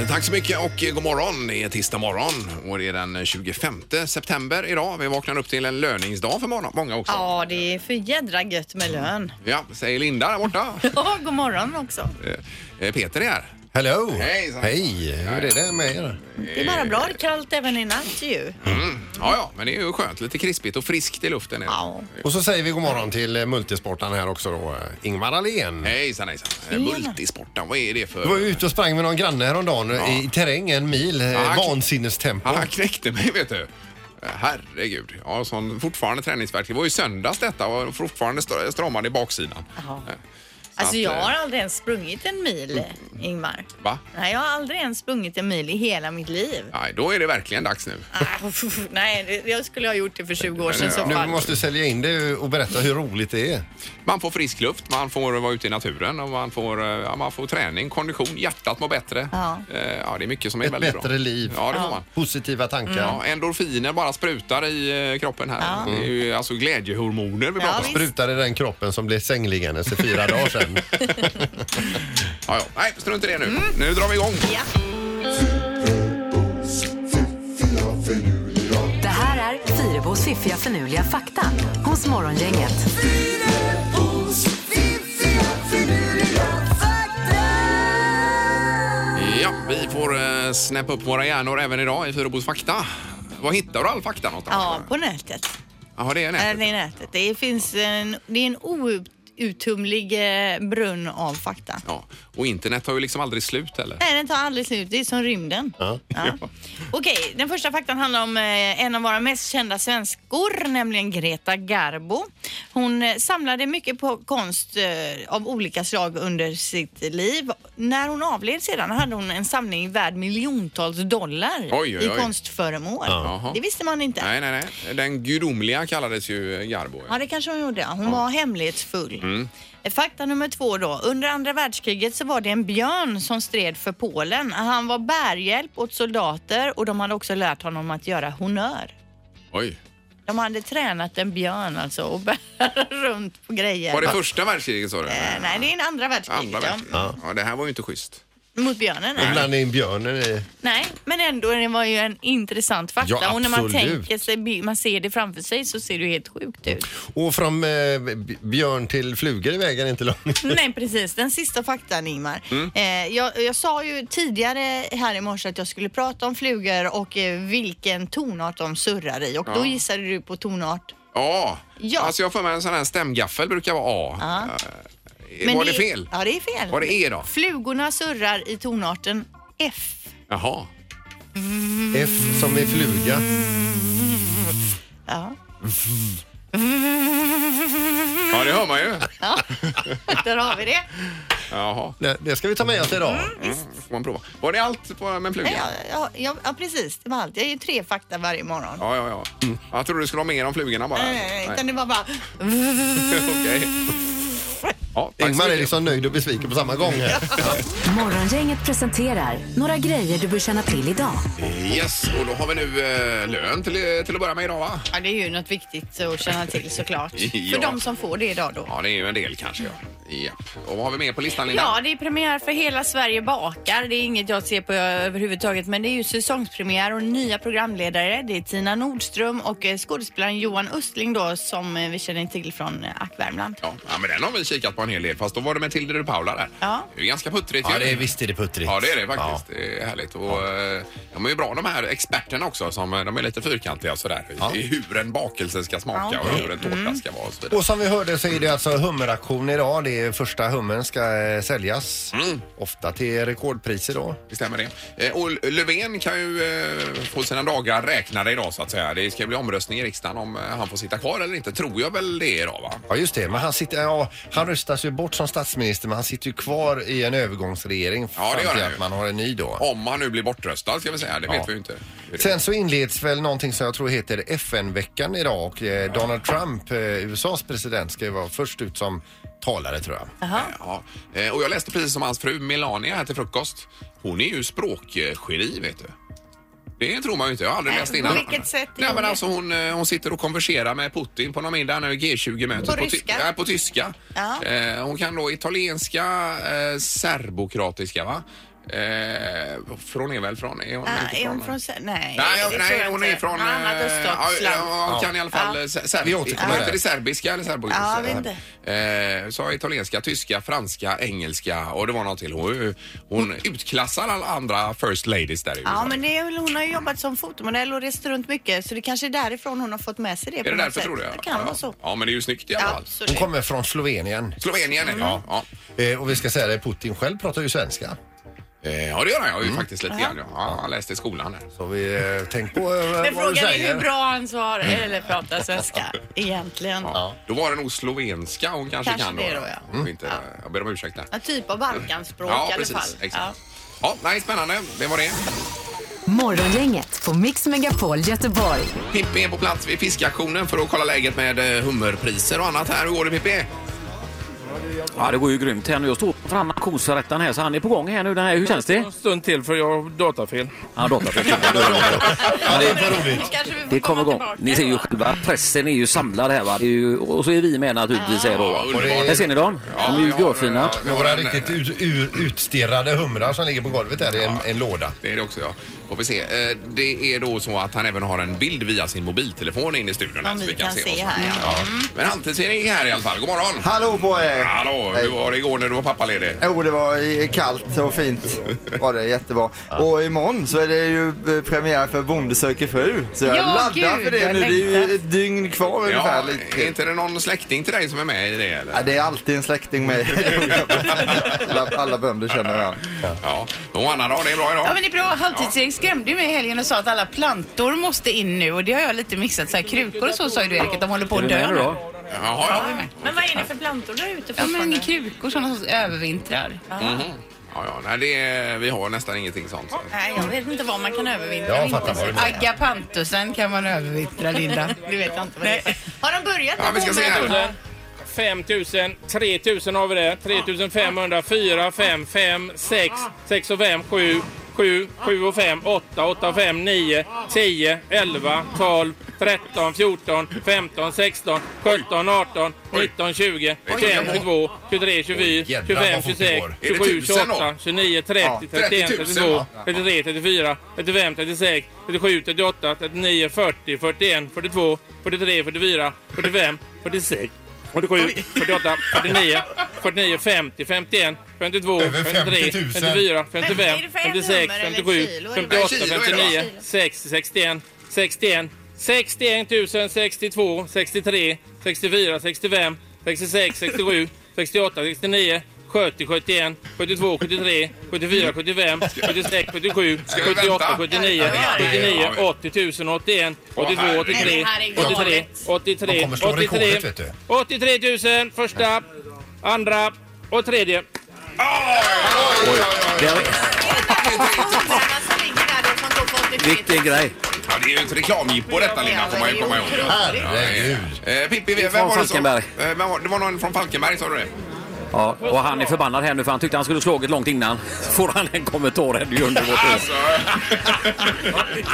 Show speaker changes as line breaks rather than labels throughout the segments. Eh, Tack så mycket och god morgon. Det är tisdag morgon och det är den 25 september idag. Vi vaknar upp till en löningsdag för många- många också.
Ja, det är för jädra gött med lön.
Ja, säger Linda där borta.
Ja, god morgon också.
Eh, Peter är här.
Hello!
Hej, Sandra.
Hej! Hur är det med er?
Det är bara bra. Det är kallt även i natt ju.
Ja, ja, men det är ju skönt. Lite krispigt och friskt i luften. Är det.
Ja.
Och så säger vi god morgon till eh, multisportaren här också då, eh, Ingmar Ahlén.
Hejsan, hejsan. Eh, Multisportaren, vad är det för...
Du var ju ute och sprang med någon granne häromdagen eh, i terräng en mil, eh,
Ja, han-
vansinnestempo.
Ja, han knäckte mig, vet du. Eh, Herregud. Ja, sån fortfarande träningsvärk. Det var ju söndags detta och fortfarande stra- stramad i baksidan.
Jaha.
Eh, så
Alltså
att,
jag
eh,
har aldrig ens sprungit en mil, Ingmar.
Va?
Nej, jag har aldrig ens sprungit en mil i hela mitt liv.
Nej, då är det verkligen dags nu.
Ah, uff, nej, det- jag skulle ha gjort det för 20 år sedan i så
Nu
fall.
måste du sälja in det och berätta hur roligt det är.
Man får frisk luft, man får vara ute i naturen och man får, eh, ja, man får träning, kondition, hjärtat mår bättre.
Ja.
Eh, ja, det är mycket som är
Ett
väldigt
bättre
bra.
liv.
Ja, det får man. Mm.
Positiva tankar.
Ja, endorfiner bara sprutar i eh, kroppen här. Det är ju alltså glädjehormoner vi pratar om.
visst.
Sprutade den kroppen som blev sängliggande för fyra dagar sedan.
Ja, ja. Nej, strunt i det nu.
Mm.
Nu drar vi igång.
Ja.
Det här är Fyrabos fiffiga förnuliga fakta hos Morgongänget.
Ja, vi får eh, snäppa upp våra hjärnor även idag i Fyrabos fakta. Var hittar du all fakta
ja,
någonstans?
på nätet.
Jaha, det är
Äh,
nätet.
det är nätet. Det finns en, det är en outtömlig eh, brunn av fakta.
Ja. Och internet tar ju liksom aldrig slut heller.
Nej, den tar aldrig slut. Det är som rymden.
Ja.
Ja. Okej, den första faktan handlar om eh, en av våra mest kända svenskor, nämligen Greta Garbo. Hon eh, samlade mycket på konst eh, av olika slag under sitt liv. När hon avled sedan hade hon en samling värd miljontals dollar
Oj, oj,
i
oj.
konstföremål.
Jaha.
Det visste man inte.
Nej, nej, nej. Den gudomliga kallades ju eh, Garbo.
Ja, det kanske hon gjorde. Hon var hemlighetsfull.
Mm.
Eh, Fakta nummer två då. Under andra världskriget så var det en björn som stred för Polen. Han var bärhjälp åt soldater och de hade också lärt honom att göra honör.
Oj.
De hade tränat en björn alltså och bära runt på grejer.
Var det första världskriget sa du?
Eh, Nej, det är en andra världskriget.
Andra
ja.
världskriget? Ja. det här var ju inte schysst.
Mot björnen.
Och
nej.
blandade in björnen i...
Nej, men ändå, det var ju en intressant fakta.
Ja,
och när man
absolut.
tänker sig, bi- man ser det framför sig så ser det ju helt sjukt ut.
Och från eh, b- björn till flugor i vägen inte långt.
Nej precis, den sista faktan Ingmar.
Mm.
Eh, jag, jag sa ju tidigare här i morse att jag skulle prata om flugor och eh, vilken tonart de surrar i och då gissade du på tonart.
Ja.
Ja.
Alltså jag får med en sån här stämgaffel brukar vara A.
Ja.
Eh, var det, fel?
Ja det är fel.
Var det E då?
Flugorna surrar i tonarten F.
Jaha. Mm.
F som i fluga.
Ja,
Ja, det hör man ju.
där har vi det.
Jaha.
Det, det ska vi ta med oss idag.
Får man prova. Var det allt på, med en fluga?
Nej, Ja, ja, ja, ja precis, det var allt. Jag ger tre fakta varje morgon.
Ja, ja, ja. Mm. Jag trodde du skulle ha mer om flugorna bara.
Nej, nej, nej, utan det var bara...
Okej. Ja, tack så
Ingmar är
mycket.
liksom nöjd och besviken på samma gång. Här.
Morgongänget presenterar några grejer du bör känna till idag.
liksom-
Yes, och då har vi nu eh, lön till, till att börja med idag va?
Ja, det är ju något viktigt att känna till såklart.
Ja.
För de som får det idag då.
Ja, det är ju en del kanske. Ja. Japp. Och vad har vi mer på listan Linda?
Ja, det är premiär för Hela Sverige bakar. Det är inget jag ser på överhuvudtaget, men det är ju säsongspremiär och nya programledare. Det är Tina Nordström och eh, skådespelaren Johan Östling då som eh, vi känner till från eh, Ack Värmland.
Ja, ja, men den har vi kikat på en hel del. Fast då var det med Tilde de Paula där.
Ja.
Det är ju ganska puttrigt
Ja,
ju.
det är, visst är det puttrigt.
Ja, det är det faktiskt. Det är härligt. Och, eh, De är ju bra de här experterna också. Som, eh, de är lite fyrkantiga och sådär. Ja. Hur en bakelse ska smaka
Ja,
och
okej.
hur en tårta ska vara och så
Ja.
vidare.
Och som vi hörde så är det alltså hummeraktion idag. Det är första hummen ska eh, säljas.
Mm.
Ofta till rekordpriser då.
Det stämmer det. Eh, Och Löfven kan ju eh, få sina dagar räknade idag så att säga. Det ska bli omröstning i riksdagen om eh, han får sitta kvar eller inte. Tror jag väl det idag va?
Ja just det, men han, sitter, ja, han röstas ju bort som statsminister men han sitter ju kvar i en övergångsregering
Ja, det
fram
gör
till
han ju.
att man har en ny då.
Om han nu blir bortröstad ska vi säga. Det
Ja.
vet vi ju inte. Hur det-
Sen så inleds väl någonting som jag tror heter FN-veckan idag och eh, Donald Trump, eh, USAs president, ska ju vara först ut som talare tror jag.
Jaha.
Ja. Eh, Och jag läste precis om hans fru Melania här till frukost. Hon är ju språkgeni, vet du. Det tror man ju inte. Jag har aldrig
Nej,
läst
Äh, på
innan.
vilket sätt är
Nej, men
det?
alltså hon, eh, hon sitter och konverserar med Putin på någon middag nu, G20-mötet.
På
ty-
ryska?
Nej, på tyska.
Ja.
Eh, hon kan då italienska, eh, serbokratiska, va? Eh, för hon är väl från... Är hon
Ah,
inte
är hon från...
från
Sä- Nej,
Nej,
det
jag,
tror
nej
jag
hon
inte.
är från...
Något annat
eh, ja,
öststatsland.
ja, kan i alla fall...
Ja.
eh, se- ser-
Vi återkommer
Var
där.
inte det serbiska eller serbiska?
Ja, jag vet
Eh, så italienska, tyska, franska, engelska och det var något till. Hon, hon utklassar alla andra first ladies där i
Mm. Ja,
USA.
men det är väl, hon har ju jobbat som fotomodell och rest runt mycket så det kanske är därifrån hon har fått med sig det. på
Är det
något
därför
sätt.
tror du?
Det kan
ja.
vara så.
Ja, men det är ju snyggt i alla fall.
Absolut.
Hon kommer från Slovenien.
Slovenien
Mm.
är det, ja. ja.
Eh, och vi ska säga det, Putin själv pratar ju svenska.
Eh, Ja, det gör han ju
Mm.
faktiskt lite grann. Ja, han läste i skolan där.
Så vi, eh, tänk på eh,
Men
vad du
frågan är
säger.
hur bra han svarar eller pratar svenska egentligen.
Ja. Då var det nog slovenska hon kanske,
Kanske
kan
det då,
ja. Inte, Jag ber om ursäkt där.
En typ av Balkanspråk i alla fall. Ja.
Exakt. Ja, nej, spännande. Det var det.
Morgongänget på Mix Megapol Göteborg.
Pippi är på plats vid fiskaktionen för att kolla läget med eh, hummerpriser och annat här. Hur går det Pippi?
Ja, det går ju grymt här nu. Jag står framme auktionsrätten här, så han är på gång här nu. Den här. Hur känns det?
En stund till för jag har datafel.
Ja, datafilm.
Kanske vi får
Det kommer
komma
igång.
tillbaka
Ni ser
då.
ju själva, pressen är ju samlad här va. Det är ju, och så är vi med naturligtvis här då.
underbart.
Här ser ni dem. De är ju
vi har,
görfina.
eh, vi
Vi har
har
våra
en,
riktigt
eh,
ut, ur, utstirrade humrar som ligger på golvet där i en, en låda.
Det är det också, ja. Får vi se. Eh, Det är då så att han även har en bild via sin mobiltelefon in i studion. här,
Om
så
vi kan se
oss.
här. Ja.
Ja. Men Halvtids-Erik är här i alla fall. God morgon!
Hallå på er!
Hallå! Hur var det igår när du var pappaledig?
Jo, det var i- kallt och fint. Var det jättebra. Och imorgon så är det ju eh, premiär för Bonde söker fru. Så jag
Ja,
laddar
gud,
för det
jag
nu. Det är ju
längtar.
ett dygn kvar ungefär.
Ja,
lite.
är inte det någon släkting till dig som är med i det eller?
Ja, det är alltid en släkting med. alla, alla bönder känner varandra.
Ja. Och Anna då, det är bra idag?
Ja men det är bra. Halvtids-Erik skrämde ju mig i helgen och sa att alla plantor måste in nu och det har jag lite mixat. Så här, krukor och så sa ju du Erik att de håller på
Är
att
ni med
dö
nu
nu.
då?
Jaha, ja.
Men vad är det för plantor där ute
Ja men
fortfarande?
krukor sådana som övervintrar.
Mhm. Ja, ja. Nej, det är, vi har nästan ingenting sånt.
Nej, jag vet inte vad man kan övervintra.
Jag fattar vad du menar.
Agapantusen kan man övervintra Linda.
Det vet jag inte vad det är. Har de börjat
Ja, vi ska se här.
5 000, 3 000 har vi det. 3 500, 4, 5, 5, 6, 6 och 5, 7, 7, 7 och 5, 8, 8 och 5, 9, 10, 11, 12, 13, 14, 15, 16, 17, 18, 19, 20, 21, 22, 23, 24, 25, 26, 27, 28, 29, 30, 31, 32, 33, 34, 35, 36, 37, 38, 39, 40, 41, 42, 43, 44, 45, 46. 47, 48, 49, 49, 50, 51, 52,
Över
53,
50 000.
54, 55,
för ett
56,
nummer eller
57,
kilo?
58,
Nej, kilo är det,
59, 60, 61, 61, 61 062, 63, 64, 65, 66, 67, 68, 69, 70, 71, 72, 73, 74, 75, 76, 77,
Ska vi
78,
vänta?
79,
Ja, det är-
79, 80 081, 82, 83, 83, 83,
De kommer slå rekordet, vet du.
83 000 första, andra och tredje.
Vilken grej.
Ja, det är ju ett reklamjippo detta Linda, får man ju komma ihåg.
Herregud.
Eh, Pippi, vem
Från
var det som...
Falkenberg.
Eh, vem var, det var någon från Falkenberg sa du det?
Ja, och han är förbannad här nu för han tyckte han skulle slagit långt innan. Får han en kommentar här, det är ju underbart.
Alltså,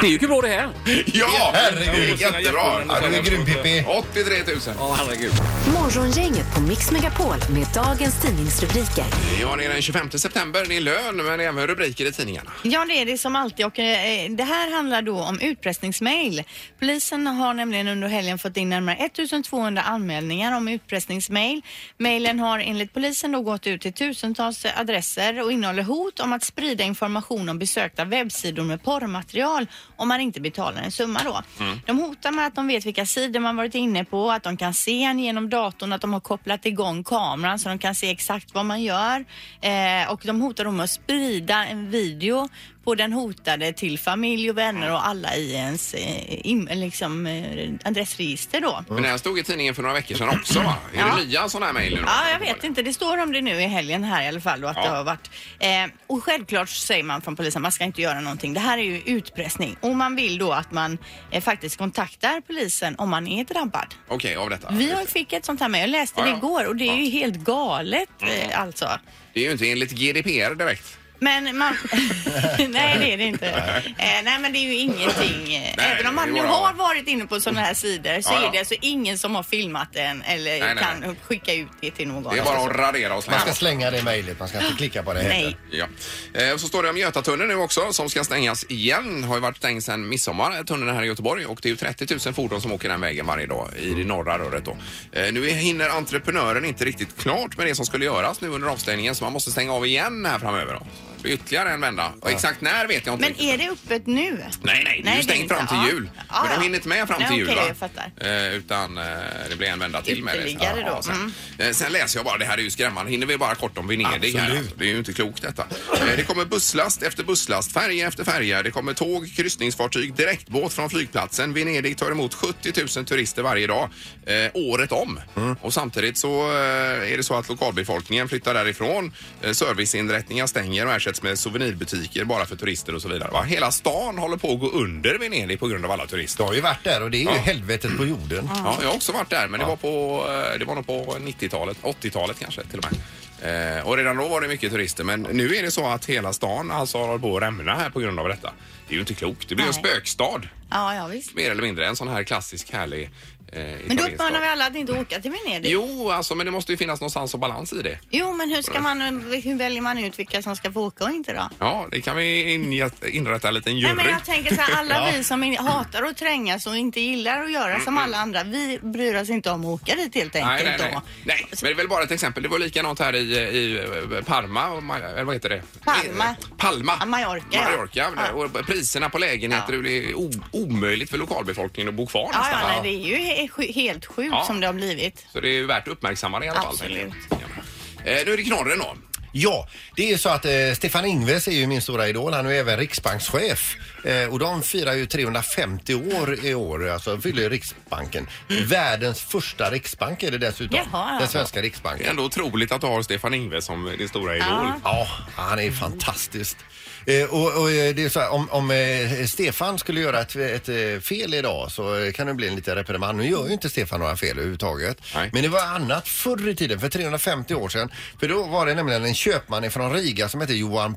Det är ju kul bra det här.
ja!
Herregud.
Jättebra!
Ja, du är grym Pippi.
83 000.
Ja, herregud.
Morgongänget på Mix Megapol med dagens tidningsrubriker.
Ja, det är den 25 september. Det är lön, men även rubriker i tidningarna.
Ja, det är det som alltid. Och, eh, det här handlar då om utpressningsmejl. Polisen har nämligen under helgen fått in närmare 1200 anmälningar om utpressningsmejl. Mejlen har enligt polisen då gått ut till tusentals adresser och innehåller hot om att sprida information om besökta webbsidor med porrmaterial om man inte betalar en summa då. De hotar med att de vet vilka sidor man varit inne på, att de kan se en genom datorn, att de har kopplat igång kameran så de kan se exakt vad man gör. Eh, och de hotar om att sprida en video på den hotade till familj och vänner och alla i ens eh, im, liksom, eh, adressregister då.
Men det här stod i tidningen för några veckor sedan också, va? Är det nya sådana här mejl nu då?
Ja, jag vet inte. Det står om det nu i helgen här i alla fall. Och, att
Ja.
det har varit, eh, och självklart säger man från polisen man ska inte göra någonting. Det här är ju utpressning. Och man vill då att man eh, faktiskt kontaktar polisen om man är drabbad.
Okej, av detta.
Vi har fick ett sånt här med. Jag läste
Ja,
det
ja. Mm.
igår och det är ju helt galet eh, alltså.
Det är ju inte enligt GDPR direkt.
Men man... nej, det är det inte. Eh, nej, men det är ju ingenting. eh,
Nej,
Även om man
det
nu
går
har
av.
varit inne på sådana här sidor så
Ja, ja.
är det alltså ingen som har filmat den eller
nej,
kan
nej.
skicka ut det till någon.
Det är bara att radera och
Man
slänga
ska
bort.
slänga det mejlet, man ska inte klicka på det
Nej.
heller.
Ja. Eh, och så står det om Götatunneln nu också som ska stängas igen. Har ju varit stängd sedan midsommar, eh, tunneln här i Göteborg. Och det är ju 30 000 fordon som åker den vägen varje dag i det norra röret då. Eh, nu hinner entreprenören inte riktigt klart med det som skulle göras nu under avstängningen så man måste stänga av igen här framöver då. Det blir Ytterligare en vända. Och exakt när vet jag inte
Men
riktigt.
är det öppet nu?
Nej, nej, det är ju stängt
inte.
fram till
Ja.
jul.
Ja,
Men
ja.
de hinner inte med fram
Nej,
till jul
okej,
va?
jag fattar.
Eh, utan eh, det blir en vända till med det.
Ytterligare då,
sen.
mm.
Eh, sen läser jag bara, det här är ju skrämmande. Hinner vi bara kort om Venedig här?
Absolut.
Alltså. Det är ju inte klokt detta. Eh, det kommer busslast efter busslast, färja efter färja. Det kommer tåg, kryssningsfartyg, direktbåt från flygplatsen. Venedig tar emot 70 000 turister varje dag, eh, året om. Och samtidigt så eh, är det så att lokalbefolkningen flyttar därifrån. Eh, serviceinrättningar stänger och ersätts med souvenirbutiker bara för turister och så vidare. Va? Hela stan håller på att gå under Venedig på grund av alla turister.
Du har ju varit där och det är ju
Ja.
helvetet på jorden.
Ja, jag har också varit där, men det var, på, eh, det var nog på 90-talet, 80-talet kanske till och med. Eh, och redan då var det mycket turister, men nu är det så att hela stan alltså håller på att rämna här på grund av detta. Det är ju inte klokt. Det blir ju en
Nej.
spökstad,
Ja, ja visst.
mer eller mindre. En sån här klassisk härlig eh,
Men då
italiensk
uppmanar
stad.
vi alla att inte åka till Venedig. Jo.
Jo, alltså, men det måste ju finnas någonstans och balans i det.
men hur ska man, hur väljer man ut vilka som ska få åka och inte då?
Ja, det kan vi inge- inrätta en liten
Nej,
jury.
men jag tänker så här, alla vi som in- hatar att trängas och inte gillar att göra som alla andra, vi bryr oss inte om att åka dit helt
Nej,
enkelt.
nej, nej.
då. Alltså-
nej, men det är väl bara ett exempel. Det var likadant här i, i eh, Parma, och Ma- eller vad heter det? Eh,
Palma.
Palma.
Ja, Mallorca, ja.
Mallorca. Och priserna på lägenheter,
Ja.
det är o- omöjligt för lokalbefolkningen att bo kvar
Ja,
nästan.
ja, nej, det är ju he- sj- helt sjukt
Ja.
som det har blivit.
Så det är värt att uppmärksamma det i alla fall.
Absolut.
Ja. Eh, nu är det knorren då.
Ja, det är ju så att eh, Stefan Ingves är ju min stora idol. Han är ju även riksbankschef. Eh, och de firar ju 350 år i år, alltså de fyller ju Riksbanken. Världens första riksbank är det dessutom.
Mm. Jaha, ja.
Den svenska
Det är
riksbanken.
ändå otroligt att du har Stefan Ingves som din stora idol.
Ja, han är fantastisk. Eh, och, och eh, det är så här, om, om eh, Stefan skulle göra ett, ett eh, fel idag så eh, kan det bli en liten reprimand. Nu gör ju inte Stefan några fel överhuvudtaget.
Nej.
Men det var annat förr i tiden, för 350 år sedan. För då var det nämligen en köpman från Riga som hette Johan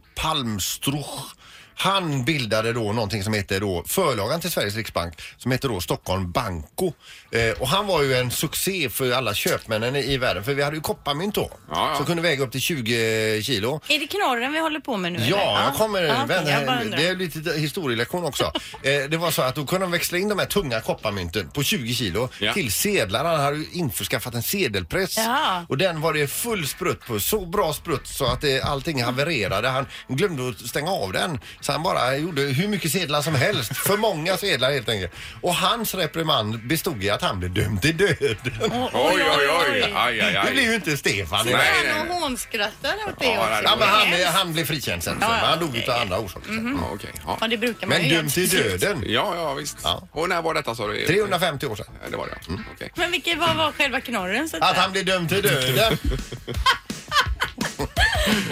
Palmstruch. Han bildade då någonting som heter då förlagan till Sveriges Riksbank som heter då Stockholm Banko. Eh, och han var ju en succé för alla köpmännen i, i världen för vi hade ju kopparmynt då
Ja, ja.
som kunde väga upp till 20 kilo.
Är det knorren vi håller på med nu? eller?
Ja, jag kommer.
Ja, okej,
vänta,
jag bara undrar.
det är lite historielektion också. eh, det var så att då kunde de växla in de här tunga kopparmynten på 20 kilo
Ja.
till sedlar. Han hade ju införskaffat en sedelpress
Jaha.
och den var det full sprutt på. Så bra sprutt så att det, allting havererade. Han glömde att stänga av den så han bara gjorde hur mycket sedlar som helst. För många sedlar helt enkelt. Och hans reprimand bestod i att han blev dömd till döden.
Oj, oj, oj. Aj, aj,
Det
aj.
blev ju inte Stefan.
Nej, nej, nej.
Han och hånskrattar åt det
Ja,
också.
nej,
Ja, men han,
Hemskt.
han blev frikänd sen.
Ja, ja.
Han dog utav andra orsaker.
Ja, okej.
Ja,
Ja.
det brukar man
Men
ju
dömd till
göra.
döden.
ja, ja, visst.
Ja. Mm.
Och när var detta sa du?
350 år sedan.
Ja, Det var det, ja. Okej.
Men vilket var, var själva knorren så
Att han blir dömd till döden.
säga?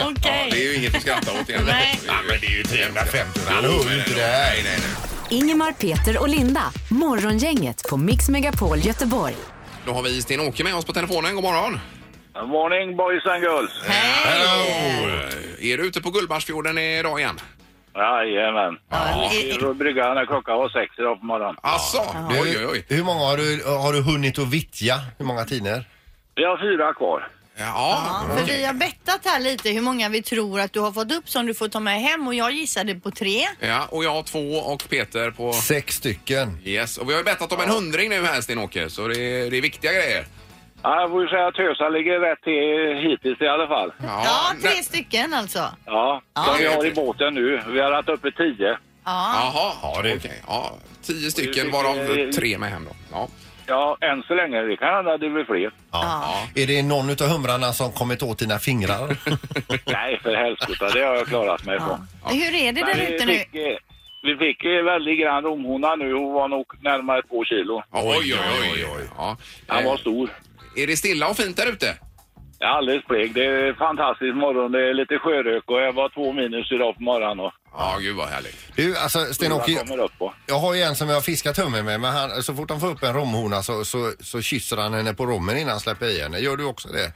Okej.
Ja, det är ju inget att skratta åt egentligen.
Nej.
Ja, men det är ju
350. Han hör ju
men
inte
ändå.
det här.
Nej, nej, nej.
Ingemar, Peter och Linda. Morgongänget på Mix Megapol Göteborg.
Då har vi Sten-Åke med oss på telefonen. God morgon!
Morning boys and girls.
Hello! Är du ute på Gullmarsfjorden idag igen?
Jajamän.
Ja, i-
Då bryggan när klockan var sex idag på morgonen.
Asså?
Du,
Alltså. Oj, oj, oj.
Hur många har du, har du hunnit att vittja? Hur många tidningar?
Vi har fyra kvar.
Ja,
För vi har bettat här lite hur många vi tror att du har fått upp som du får ta med hem och jag gissade på tre.
ja, och jag har två och Peter på...
Sex stycken.
Yes, och vi har ju bettat om en hundring nu här Sten-Åke, så det är, det är viktiga grejer.
Ja, jag får säga att Tösa ligger rätt till hittills i alla fall.
Ja,
Ja, tre
nä-
stycken alltså.
Ja, som vi
det är
har i
trevligt.
båten nu. Vi har varit uppe tio.
Ja.
Jaha, ja, det... okej. Ja, tio stycken varav tre med hem då. Ja.
Ja, än så länge. Det kan hända att det blir fler.
Ja. Är det någon utav humrarna som kommit åt dina fingrar?
Nej, för helskotta. Det har jag klarat mig
ja.
ifrån.
Hur är det där ute nu?
fick, eh, vi fick ju en väldigt grann romhona nu. Hon var nog närmare två kilo.
Oj, oj, oj. oj. Ja.
Han
Eh,
var stor.
Är det stilla och fint där ute?
Det är alldeles blek. Det är en fantastisk morgon. Det är lite sjörök och jag var två minus idag på morgonen. Och
Ja, gud vad härligt.
Du, alltså Sten-Åke,
jag
jag-
kommer upp på.
jag har ju en som jag har fiskat hummer med, men han, så fort han får upp en romhona så, så, så kysser han henne på rommen innan han släpper i henne. Gör du också det?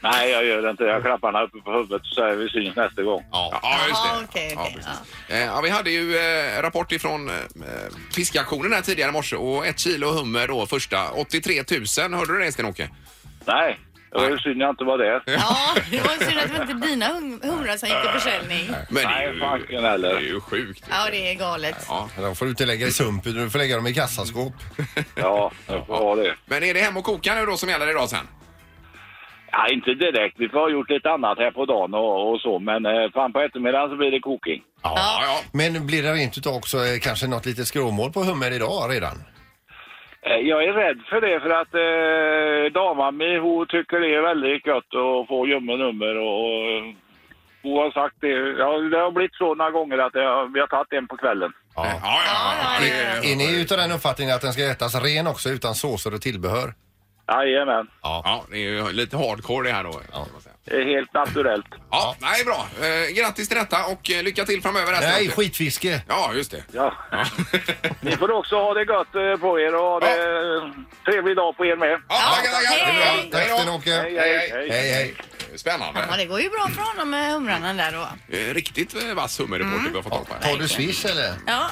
Nej, jag gör det inte. Jag klappar henne uppe på huvudet och säger vi syns nästa gång.
Ja, ja just det.
Ja, okej, okej,
ja, precis. Eh, ja, vi hade ju eh, rapport ifrån eh, fiskaktionen här tidigare i morse och ett kilo hummer då första. 83 000, hörde du det Sten-Åke?
Nej, det var ju synd jag inte var där.
Ja, det var ju synd att det var inte dina hum- humrar som gick i försäljning.
Men det är
Nej,
ju,
fanken
det är
heller.
ju sjukt.
Ja, det är galet.
De får du inte lägga i sumpen, du får lägga dem i kassaskåp.
Ja, jag får ha det.
Men är det hem och koka nu då som gäller idag sen?
Ja, inte direkt. Vi får ha gjort lite annat här på dagen och, och så. Men eh, fram på eftermiddagen så blir det koking.
Ja, ja.
Men blir det rent utav också eh, kanske något litet skråmål på hummer idag redan?
Eh, jag är rädd för det för att eh, Damami hon tycker det är väldigt gött att få ljummen nummer och, och hon har sagt det. Ja, det har blivit så några gånger att jag, vi har tagit en på kvällen.
Ja, ja, ja, ja, det är-
Är ni utav den uppfattningen att den ska ätas ren också utan såser och tillbehör?
Jajamän,
ja, det är ju lite hardcore det här då. Ja,
det är helt naturellt.
ja nej, bra. Eh, grattis till detta och eh, lycka till framöver. här,
Nej,
Sten-Åke.
skitfiske!
Ja, just det.
Ja.
Ja.
Ni får också ha det gött eh, på er och ha det eh, trevlig dag på er med.
Ja, tackar, tackar.
hej.
Hej
Tack
då.
Sten-Åke!
hej,
eh, Hej, hej!
Ja,
Spännande.
det går ju bra för honom med humrarna där då.
Eh, Riktigt eh, vass hummerreporter vi har fått tag på. här.
Tar du swish eller?
Ja,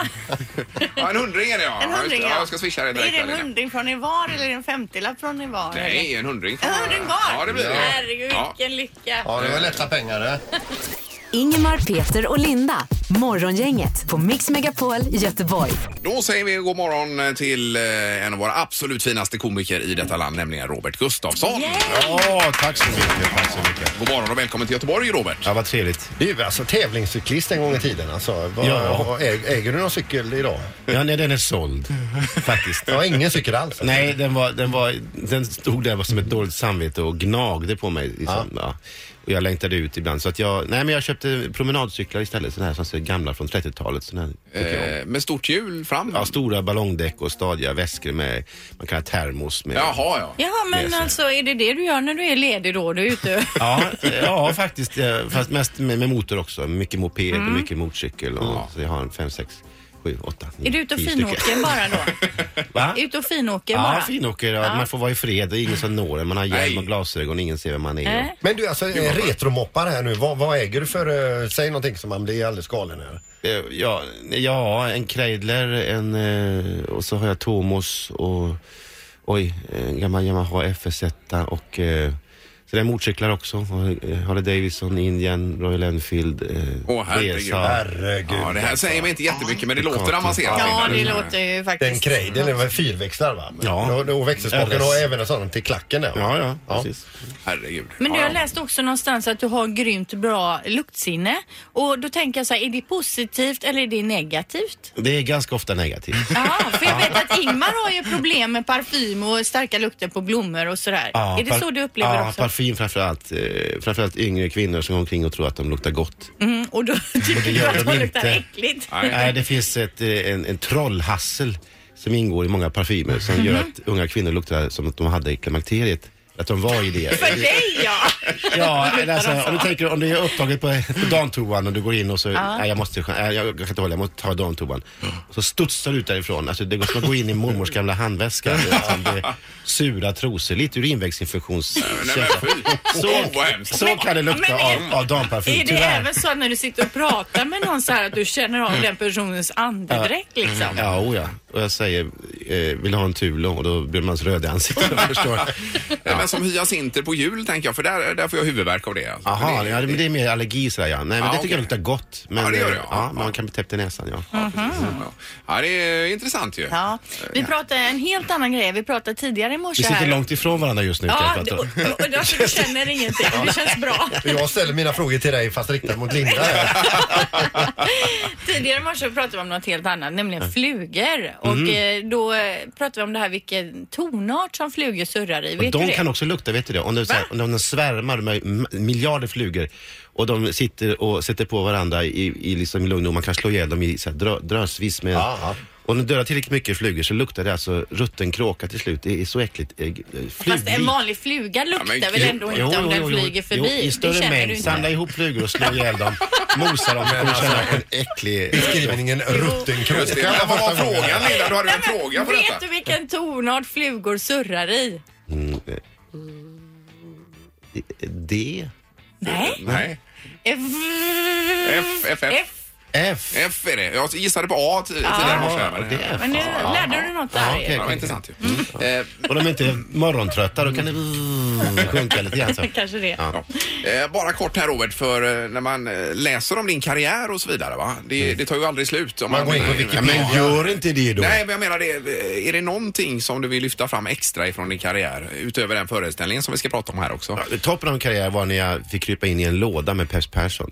Ja, en hundring är det ja. Ja, just
en
det.
hundring.
Ja, jag ska swisha det
Är
direkt.
det en
här, Linda.
hundring från er var eller är det en femtiolapp från er var? eller?
Nej, en hundring.
En hundring var?
Ja, det blir det.
Herregud,
Ja.
vilken lycka.
Ja, det var lätta pengar det.
Ingemar, Peter och Linda. Morgongänget på Mix Megapol Göteborg.
Då säger vi god morgon till eh, en av våra absolut finaste komiker i detta land, nämligen Robert Gustafsson.
Ja, tack så mycket. Tack så mycket.
God morgon och välkommen till Göteborg, Robert.
Ja, vad trevligt.
Du är alltså tävlingscyklist en gång i tiden alltså. Vad-
Ja.
äger, äger du någon cykel idag?
Ja, nej, den är såld faktiskt.
Ja, ingen cykel alls.
Nej, den, var, den, var, den stod där som ett dåligt samvete och gnagde på mig. Liksom. Ja. Och jag längtade ut ibland. Så att jag, nej, men jag köpte promenadcyklar istället. Sådana här som ser gamla från 30-talet. Såna här, tycker jag om.
Eh, med stort hjul fram.
ja, stora ballongdäck och stadiga väskor med, man kallar termos. Med,
Jaha, ja.
Jaha, men
Yes.
alltså är det det du gör när du är ledig då? Du är ute
Ja, ja faktiskt. eh, Fast mest med, med motor också. Mycket moped och mycket motorcykel. Och, Så jag har en fem, sex, sju, åtta, nio,
Är du ute och
tio stycken.
finåker bara då?
Va?
Ut och finåker bara?
Ja, finåker. Ja. Man får vara i fred. Det är ingen som når en. Man har
Nej.
hjälm och glasögon. Ingen ser vem man är.
Nej.
Men du alltså eh, retromoppar här nu, vad, vad äger du för, eh, säg någonting som man blir alldeles galen över.
Eh, Ja, ja, en Kreidler, en, eh, och så har jag Tomos och oj, en gammal Yamaha FS1 och eh, så det är motorcyklar också. Och, eh, Harley Davidson, Indian, Royal Enfield, eh,
Åh, herregud.
Herregud.
ja. Det här säger mig inte jättemycket, men det låter
Kato.
avancerat. Mm.
Ja, det
Linda.
låter ju
Den
faktiskt...
krejden, det var fyrväxlar va?
Ja.
Och, och växelspaken
RS.
och även en sån till klacken där va?
Ja, ja, precis.
Herregud.
Men du,
Ja,
jag
ja.
läste också någonstans att du har grymt bra luktsinne. Och då tänker jag så här, är det positivt eller är det negativt?
Det är ganska ofta negativt.
Ja, för jag vet att Ingmar har ju problem med parfym och starka lukter på blommor och sådär.
Ja,
är det
par-
så du upplever
ja,
också?
parfym framförallt. Eh, framförallt yngre kvinnor som går omkring och tror att de luktar gott.
Mm, och då tycker du
gör
att
de
de luktar
inte.
äckligt.
Nej.
Nej, det finns ett, eh, en, en trollhassel som ingår i många parfymer som
Mhm.
gör att unga kvinnor luktar som att de hade klimakteriet. Att de var i det.
För dig ja!
Ja, eller alltså, om du tänker om du är upptaget på, på damtoan och du går in och så, nej jag måste, nej, jag kan inte hålla, jag måste ta damtoan. Så studsar du ut därifrån, alltså det går som att gå in i mormors gamla handväska. Alltså, det är sura trosor, lite urinvägsinfektions...
Nej, men fy. Så vad hemskt.
Så kan det lukta
Men är-
av, av damparfym,
Är det
tyvärr.
även så att när du sitter och pratar med någon så här att du känner av den personens andedräkt liksom?
Ja, oh ja. Och jag säger, eh, vill du ha en tulo? Och då blir man så röd i ansiktet, jag förstår.
Nej, Men som hyacinter på jul, tänker jag, för där, där får jag huvudvärk av det. Alltså.
Jaha,
det,
ja, men det är mer allergi sådär ja. Nej, men
Ja,
det tycker jag
okej.
luktar gott. Men,
Ja, det gör det,
eh,
ja.
ja. Man kan bli täppt i näsan, ja.
ja. ja, det är intressant ju.
Ja, vi pratade en helt annan grej. Vi pratade tidigare i morse
Vi sitter
här.
långt ifrån varandra just nu. kan
Ja,
jag
det-
prata
och,
om.
och, och därför du känner ingenting. Det känns bra.
Jag ställer mina frågor till dig fast riktat mot Linda här.
Tidigare i morse pratade vi om något helt annat, nämligen flugor. Och
Mm.
eh, då eh, pratade vi om det här vilken tonart som flugor surrar i.
Och
Vet du
de
det?
kan också lukta, vet du det? Om de, så här, om de svärmar med m- miljarder flugor och de sitter och sätter på varandra i, i liksom lugn och man kan slå ihjäl dem i så här, drö, drösvis med...
Aha.
Om de dödar tillräckligt mycket flugor så luktar det alltså rutten kråka till slut. Det är så äckligt. Eh, eh,
Fast en
Flugvit.
vanlig fluga luktar
men
väl
gud.
ändå inte om den flyger
Jo,
förbi?
i
det
större
känner du
mängd.
inte.
Samla ihop flugor och slå ihjäl dem. Mosa dem. Men alltså, en äcklig...
Skrivningen rutten
Just det.
kråka.
Men Vad var frågan, Linda? Du hade ju en
Nej, men
fråga på
vet
detta.
du vilken tonart flugor surrar i?
D?
Nej.
Nej.
F.
F, F, F.
F.
F är det. Jag gissade på A t- tidigare i morse. här, men-
det är F.
Men nu lärde du något
Ja,
där.
okej.
Ja, det var intressant ju. Eh,
Och de är inte morgontrötta, då kan det mm, sjunka lite grann. Så.
Kanske det.
Eh, bara kort här Robert, för eh, när man eh, läser om din karriär och så vidare va? Det, det tar ju aldrig slut. Om
Man går in på
eh,
Wikipedia.
men-
Ja.
Gör inte det då.
Nej, men jag menar det. eh, Är det någonting som du vill lyfta fram extra ifrån din karriär? Utöver den föreställningen som vi ska prata om här också.
Ja, Toppen av min karriär var när jag fick krypa in i en låda med Pers Persson.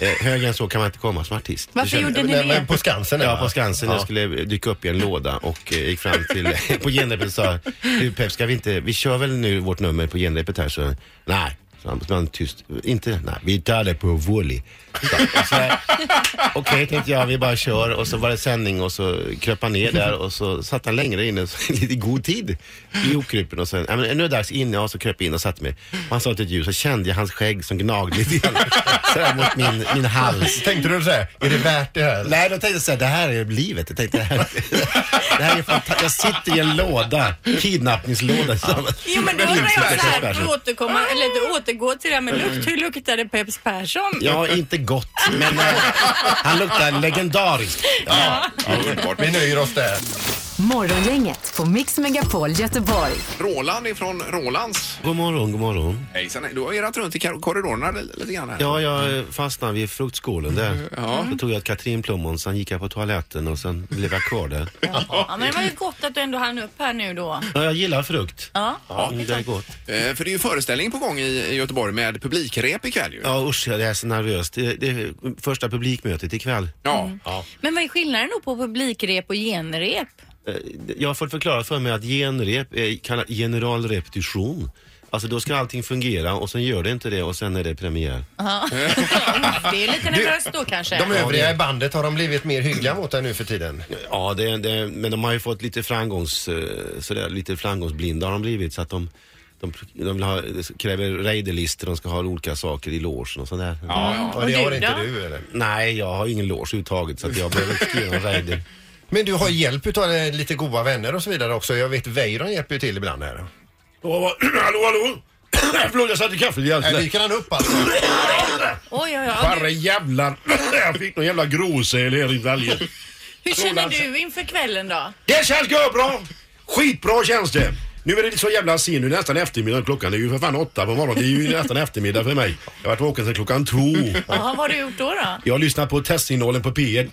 Eh, högre än så kan man inte komma som artist.
Varför gjorde ni
Men, men
det?
på Skansen?
Ja,
va?
på Skansen.
Ja.
Jag skulle dyka upp i en låda och eh, gick fram till, på genrepet och sa, du Pep, ska vi inte, vi kör väl nu vårt nummer på genrepet här så, nej. Så han, så han tyst, inte, nej, vi tar det på volley. Så, så jag, Okej, tänkte jag, vi bara kör och så var det sändning och så kröp han ner där och så satt han längre inne så, lite i god tid i okrypen och sen, ja, men nu är det dags inne och så kröp jag in och satte mig. Och han sa inte ett ljud så kände jag hans skägg som gnagde lite grann sådär mot min, min hals.
Tänkte du såhär, är det värt det här?
Nej, då tänkte jag så här, det här är livet. Jag tänkte, det här, det här är fantastiskt. Jag sitter i en låda, kidnappningslåda.
Jo men då undrar
Lindsay
jag så här,
Persson.
för att återkomma, eller återgå till det här med lukt. Hur luktade Peps Persson?
Ja, inte gott, men eh, han luktar legendariskt.
Ja, underbart.
Vi nöjer oss där.
Morgongänget på Mix Megapol Göteborg.
Roland ifrån Rolands.
God morgon, god morgon.
Hejsan, du har irrat runt i kar- korridorerna li- lite grann här.
Ja, jag eh, fastnade vid fruktskålen där.
Ja.
Då tog jag ett katrinplommon, sen gick jag på toaletten och sen blev jag kvar där.
Ja, men det var ju gott att du ändå hann upp här nu då.
Ja, jag gillar frukt.
Ja.
Mm, det är gott.
Eh, för det är ju föreställning på gång i, i Göteborg med publikrep ikväll ju.
Ja, usch, jag är så nervös. Det, det är första publikmötet ikväll.
Ja.
Men vad är skillnaden då på publikrep och genrep?
Eh, Jag har fått förklara för mig att genrep är kallat generalrepetition. Alltså då ska allting fungera och sen gör det inte det och sen är det premiär.
Det är lite nervöst då kanske.
De övriga i bandet, har de blivit mer hyggliga mot dig nu för tiden?
Ja, det, det, men de har ju fått lite framgångs, eh, sådär, lite framgångsblinda har de blivit så att de, de, de vill ha, kräver raiderlistor, de ska ha olika saker i logen och sådär.
Och det
Och
har
du
inte
då?
du eller?
Nej, jag har ingen loge överhuvudtaget så att jag behöver inte skriva någon raider.
Men du har hjälp utav eh, lite goda vänner och så vidare också. Jag vet Weiron hjälper ju till ibland här.
hallå, hallå! Förlåt, jag satte kaffet i
Här dyker han upp alltså.
Oj, oj, oj.
jävlar, jag fick någon jävla gråsäl här i galgen.
Hur känner du inför kvällen då?
Det känns bra. Skitbra känns det! Nu är det lite så jävla sen, nu är det nästan eftermiddag. Klockan är ju för fan åtta på morgonen. Det är ju nästan eftermiddag för mig. Jag har varit vaken sedan klockan två.
Jaha, vad har du gjort då? då?
Jag har lyssnat på testinnehållen på P1.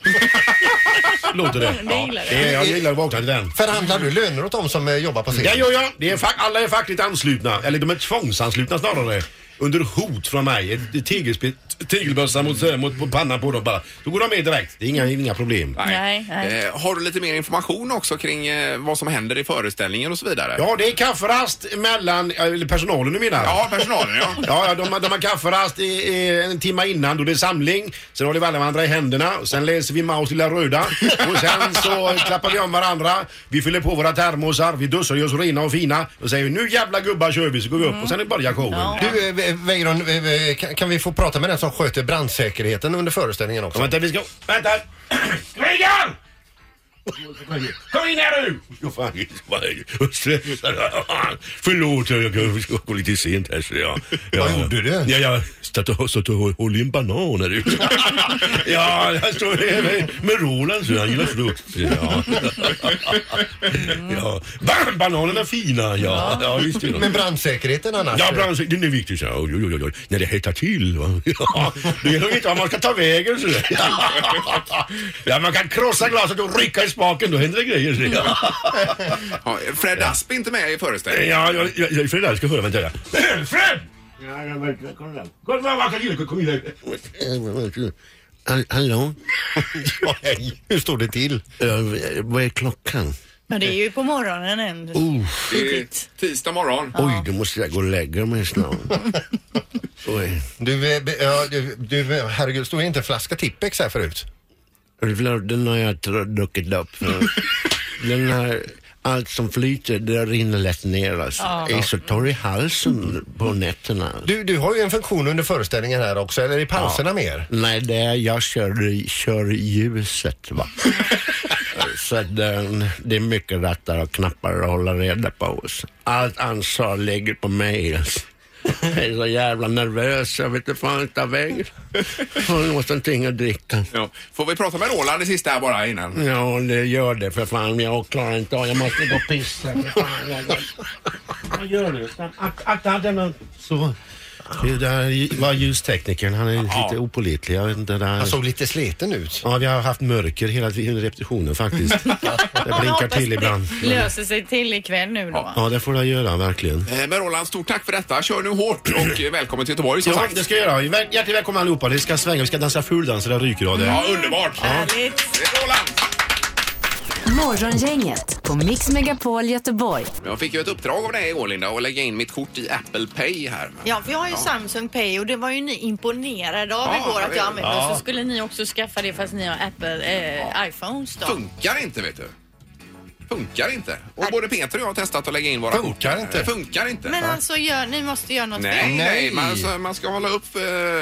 Låter det?
Det gillar du.
det är, jag gillar att vakna till den.
Förhandlar du löner åt dem som eh, jobbar på
Det
scenen?
gör jag! Det är fack, alla är fackligt anslutna, eller de är tvångsanslutna snarare. Under hot från mig. Ett Tegelspett, tegelbössa mot, mot på pannan på dem bara. Då går de med direkt. Det är inga, inga problem.
Nej, nej.
Eh, har du lite mer information också kring eh, vad som händer i föreställningen och så vidare?
Ja, det är kafferast mellan, eller personalen du menar?
Ja, personalen ja.
Ja, ja, de, de har kafferast i, i, en timme innan då det är samling. Sen håller vi alla varandra i händerna. och Sen läser vi Maos lilla röda. Och sen så klappar vi om varandra. Vi fyller på våra termosar. Vi duschar oss rena och fina. Och säger vi, nu jävla gubbar kör vi. Så går vi upp och sen börjar showen.
Du eh, Ve- Weiron, eh, eh, kan- kan vi få prata med den som sköter brandsäkerheten under föreställningen
Ja,
också?
vänta, vi ska... Vänta! Krigan! Kom in här nu! Jo, fan, vad är det? Jag stressar. Förlåt, jag, jag, jag går lite sent här. Så jag, jag,
Vad gjorde du?
Ja, jag satt och, satt och höll i en banan här ute. ja, jag står här med, med Roland, så han gillar frukt. Ja.
Mm.
ja. Ba- Bananerna är fina, ja. ja visst är de.
Men brandsäkerheten annars?
Ja, branschen, den är viktig. Så. Oj, oj, oj, oj. När det hettar till. Va? Ja, det är nog inte vad man ska ta vägen. Så. Ja, man kan krossa glaset och rycka i spaken. Då händer det grejer. Så.
Ja, Fred Asp är inte med i föreställningen.
Ja, jag, jag, jag, Fred, jag ska höra. Vänta. där. Fred! Ja, jag vet, kom igen. Kom igen, vad kan jag göra? Kom igen. Hallå?
Ja, hej. Hur står det till?
Vad är klockan?
Men det är ju på morgonen än.
Det är tisdag morgon.
Oj, då måste jag gå och lägga mig snart. Oj.
Du, eh, be- ja, du, du eh, herregud, stod inte en flaska Tippex här förut?
Den har jag tr- druckit upp. Den här, allt som flyter, det rinner lätt ner. Alltså. Jag är så torr i halsen på nätterna.
Du, du har ju en funktion under föreställningen här också, eller i pauserna mer?
Nej, det är, jag kör, kör ljuset. Va? så att den, det är mycket rattar och knappar att hålla reda på. Allt ansvar ligger på mig. Alltså. Jag är så jävla nervös, jag vet inte fan inte vägen. Jag har någonting att dricka.
Ja. Får vi prata med Roland det sista här bara innan?
Ja, det gör det för fan. Jag klarar inte av Jag måste gå och pissa. för fan. Jag- Vad gör du? Ak- Akta, akta mun. Så. Det där var ljusteknikern. Han är lite opålitlig. Jag vet inte, det där...
Han såg lite sliten ut.
Ja, vi har haft mörker hela tiden, repetitionen faktiskt. Det blinkar
Hoppas
till
det
ibland.
Löser sig till ikväll nu då. va?
Ja, det får jag göra verkligen.
Eh, Men Roland, stort tack för detta. Kör nu hårt och eh, välkommen till Göteborg som
Mm. Ja,
sagt.
det ska jag göra. Väl- Hjärtligt välkomna allihopa. Det ska svänga. Vi ska dansa fuldans eller rykradar.
Ja, underbart! Eh,
Härligt.
Morgongänget på Mix Megapol Göteborg.
Jag fick ju ett uppdrag av dig igår Linda att lägga in mitt kort i Apple Pay här.
Ja, för jag har ju Samsung Pay och det var ju ni imponerade av
Ja,
igår att jag använde
ja.
och så skulle ni också skaffa det fast ni har Apple eh, iPhones då.
Funkar inte vet du. Funkar inte. Och både Peter och jag har testat att lägga in våra
Funkar
kort.
inte.
Det funkar inte.
Men alltså, gör, ni måste göra något
Nej,
fel.
nej.
Nej.
Man, så, man ska hålla upp eh,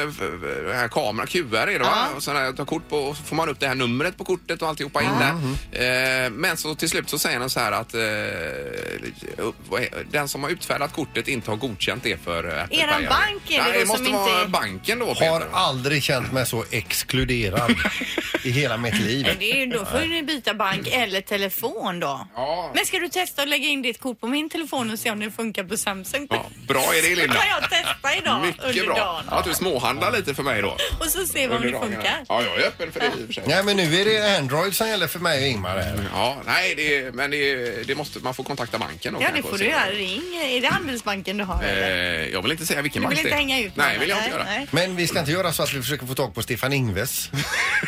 f- f- den här kameran, QR är det va?
Ja.
Och sen här, ta kort på, och så får man upp det här numret på kortet och alltihopa in
Mm.
där. Eh, men så till slut så säger de så här att eh, upp- vad är- den som har utfärdat kortet inte har godkänt det för eh, Apple
Eran
Pay.
bank är det
Nej,
då
det måste
som
vara
inte-
banken då Peter.
Har aldrig känt mig så exkluderad i hela mitt
Men
liv.
det är, ju- då får ju ni byta bank eller telefon då.
Mm. Ja.
Men ska du testa att lägga in ditt kort på min telefon och se om det funkar på Samsung?
Ja, bra är det
Det
Linda.
kan jag testa idag under
Mycket bra.
dagen.
Att du småhandlar lite för mig då.
Och så ser vi om
Under
det
dagen.
funkar.
Ja, jag är öppen för det i och för sig.
Nej men nu är det Android som gäller för mig och Ingmar här.
Ja, nej, det, men det, det måste, man får kontakta banken då
Ja, det
kanske och
får
se
du
vad-
göra. Ring. Är det Handelsbanken du har eller?
Eh, jag vill inte säga vilken
Du
bank
vill
det
inte
är.
hänga ut
Nej,
någon,
vill jag inte göra.
nej.
Men vi ska inte göra så att vi försöker få tag på Stefan Ingves.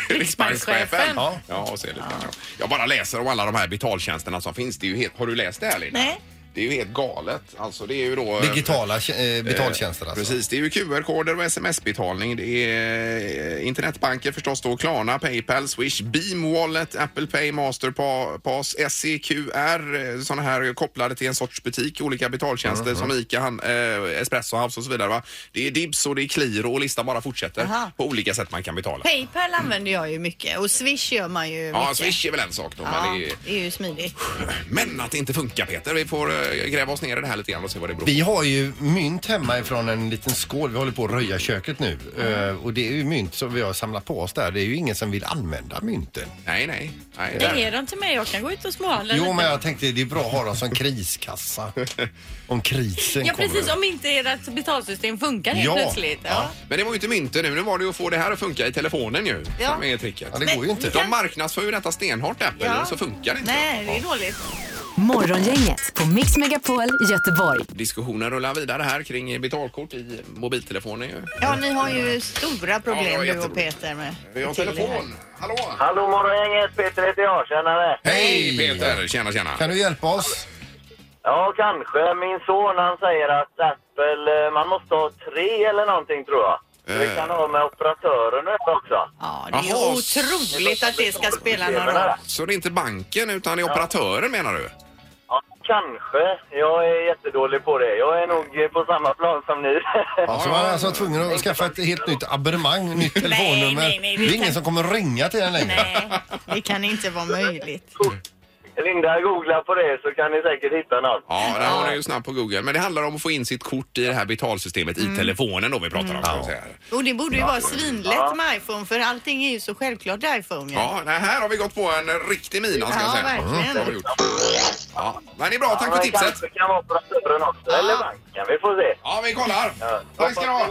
Riksbankschefen. Ja,
Ja.
och se lite grann, ja. Jag bara läser om alla de här betaltjänsterna som finns. Det är ju helt, har du läst det här Linda?
Nej.
Det är ju helt galet. Alltså, det är ju då...
Digitala eh, betaltjänster alltså.
Precis, det är ju QR-koder och sms-betalning. Det är eh, internetbanker förstås då, Klarna, Paypal, Swish, Beam Wallet, Apple Pay, Masterpass, E SEQR, sådana eh, här kopplade till en sorts butik, olika betaltjänster som
Mhm.
ICA, han, eh, Espresso House och så vidare. Va? Det är Dibs och det är Qliro och listan bara fortsätter
Aha.
på olika sätt man kan betala.
Paypal använder jag ju mycket och Swish gör man ju
Ja,
mycket.
Swish är väl en sak då,
Ja,
men, det är,
det är ju smidigt.
men att det inte funkar Peter. Vi får eh, gräva oss ner i det här lite grann och se vad det beror på.
Vi har ju mynt hemma ifrån en liten skål. Vi håller på att röja köket nu.
Mm.
Eh, och det är ju mynt som vi har samlat på oss där. Det är ju ingen som vill använda mynten.
Nej, nej. nej där.
Ringer de till mig? Jag kan gå ut och småhandla
Jo
lite.
men jag tänkte det är bra att ha dem som kriskassa. Om krisen
Ja,
kommer.
precis. Om inte ert betalsystem funkar helt
Ja.
plötsligt. Ja.
Men det var ju inte mynten nu. Nu var det ju att få det här att funka i telefonen ju.
Ja.
Som är tricket.
Ja, det går ju
Men-
inte.
De marknadsför ju detta stenhårt Apple
Ja.
och så funkar det inte.
Nej, det är dåligt.
Morgongänget på Mix Megapol Göteborg.
Diskussionen rullar vidare här kring betalkort i mobiltelefoner ju.
Ja, ni har ju stora
Ja,
problem
det är
du och
jätteproblem.
Peter med.
Vi har
till det här.
telefon. Hallå!
Hallå morgongänget, Peter heter jag, tjenare.
Hej Peter! Tjena tjena!
Kan du hjälpa oss?
Ja, kanske. Min son han säger att Apple, eh, man måste ha tre eller någonting tror jag.
Eh.
Vi kan ha med operatören och detta också.
Ja, det är ju
Jaha,
otroligt att det ska spela någon roll.
Tjena.
Så det är inte banken utan det är operatören menar du?
Ja, kanske. Jag är jättedålig på det. Jag är nog eh, på samma plan som ni.
Ja, så man är alltså tvungen att skaffa ett helt nytt abonnemang, nytt telefonnummer.
nej, nej,
det
vi
är
kan-
ingen som kommer ringa till den längre.
Nej, det kan inte vara möjligt.
Linda, googla på det så kan ni säkert hitta något.
Ja, där var det ju snabbt på Google. Men det handlar om att få in sitt kort i det här betalsystemet i telefonen då vi pratar om. så att säga.
Och det borde ju vara svinlätt med iPhone för allting är ju så självklart i iPhone. Ja.
Ja, nej, här har vi gått på en riktig mina ska jag
Ja,
säga.
verkligen.
Det har vi gjort. Ja, men det är bra, tack för
men
tipset.
kanske kan vara operatören också, eller banken. Vi får se.
Ja, vi kollar. Tack ska du ha.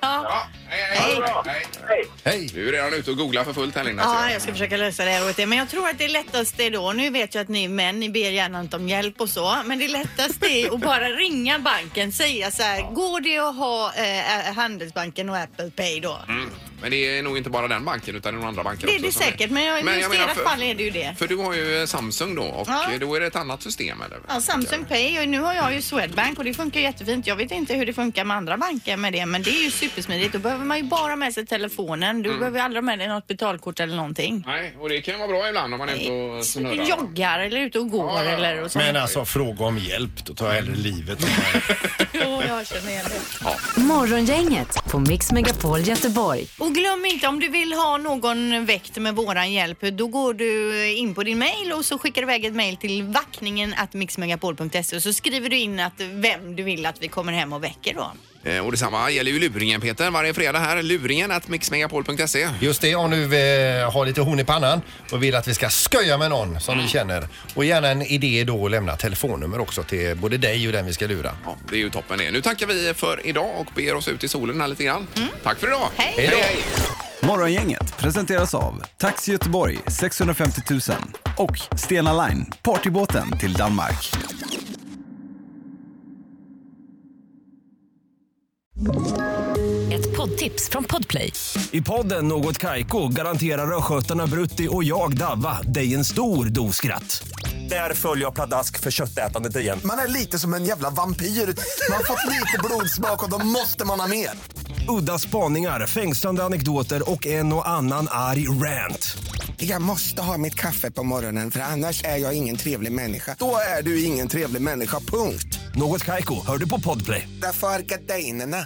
Ja.
Ja, hej, hej.
Hej.
Hej.
Hej!
Hej!
Du är redan ute och googlar för fullt här Linda. ser
Ja,
jag.
jag ska försöka lösa det här åt er. Men jag tror att det lättaste är då, nu vet jag att ni är män, ni ber gärna inte om hjälp och så, men det lättaste är att bara ringa banken, säga så här, går det att ha eh, Handelsbanken och Apple Pay då?
Mm. Men det är nog inte bara den banken utan det är nog andra banker
Det är
också.
det
som
säkert, men jag- just i
menar,
era
för-
fall är det ju det.
För du har ju eh, Samsung då och
Ja.
då är det ett annat system eller?
Ja, Samsung Pay och nu har jag ju Swedbank och det funkar jättefint. Jag vet inte hur det funkar med andra banker med det men det är ju supersmidigt. Då behöver man ju bara med sig telefonen.
Mm.
Du behöver aldrig ha med dig något betalkort eller någonting.
Nej, och det kan ju vara bra ibland om man är ute och snurrar.
Joggar eller ute och går
Ja, ja, ja.
eller och så.
Men alltså fråga om hjälp, då tar jag hellre livet.
Jo, jag känner igen det.
Morgongänget på Mix Megapol Göteborg.
Och glöm inte om du vill ha någon väckt med våran hjälp då går du in på din mail och så skickar du iväg ett mail till vackningen mixmegapol.se och så skriver du in att vem du vill att vi kommer hem och väcker då.
Eh, Och detsamma gäller ju luringen Peter, varje fredag här. Luringen att mixmegapol.se.
Just det, om du eh, har lite horn i pannan och vill att vi ska sköja med någon som du känner. Och gärna en idé då och lämna telefonnummer också till både dig och den vi ska lura.
Ja, det är ju toppen det. Nu tackar vi för idag och ber oss ut i solen här lite grann. Tack för idag!
Mm. Hej!
Morgongänget presenteras av Taxi Göteborg 650 000 och Stena Line, partybåten till Danmark.
Ett poddtips från Podplay. I podden Något Kaiko garanterar östgötarna Brutti och jag, Davva, dig en stor dos skratt. Där följer jag pladask för köttätandet igen.
Man är lite som en jävla vampyr. Man har fått lite blodsmak och då måste man ha mer.
Udda spaningar, fängslande anekdoter och en och annan arg rant.
Jag måste ha mitt kaffe på morgonen för annars är jag ingen trevlig människa. Då är du ingen trevlig människa, punkt.
Något Kaiko, hör du på Podplay.
Därför arkadeinerna.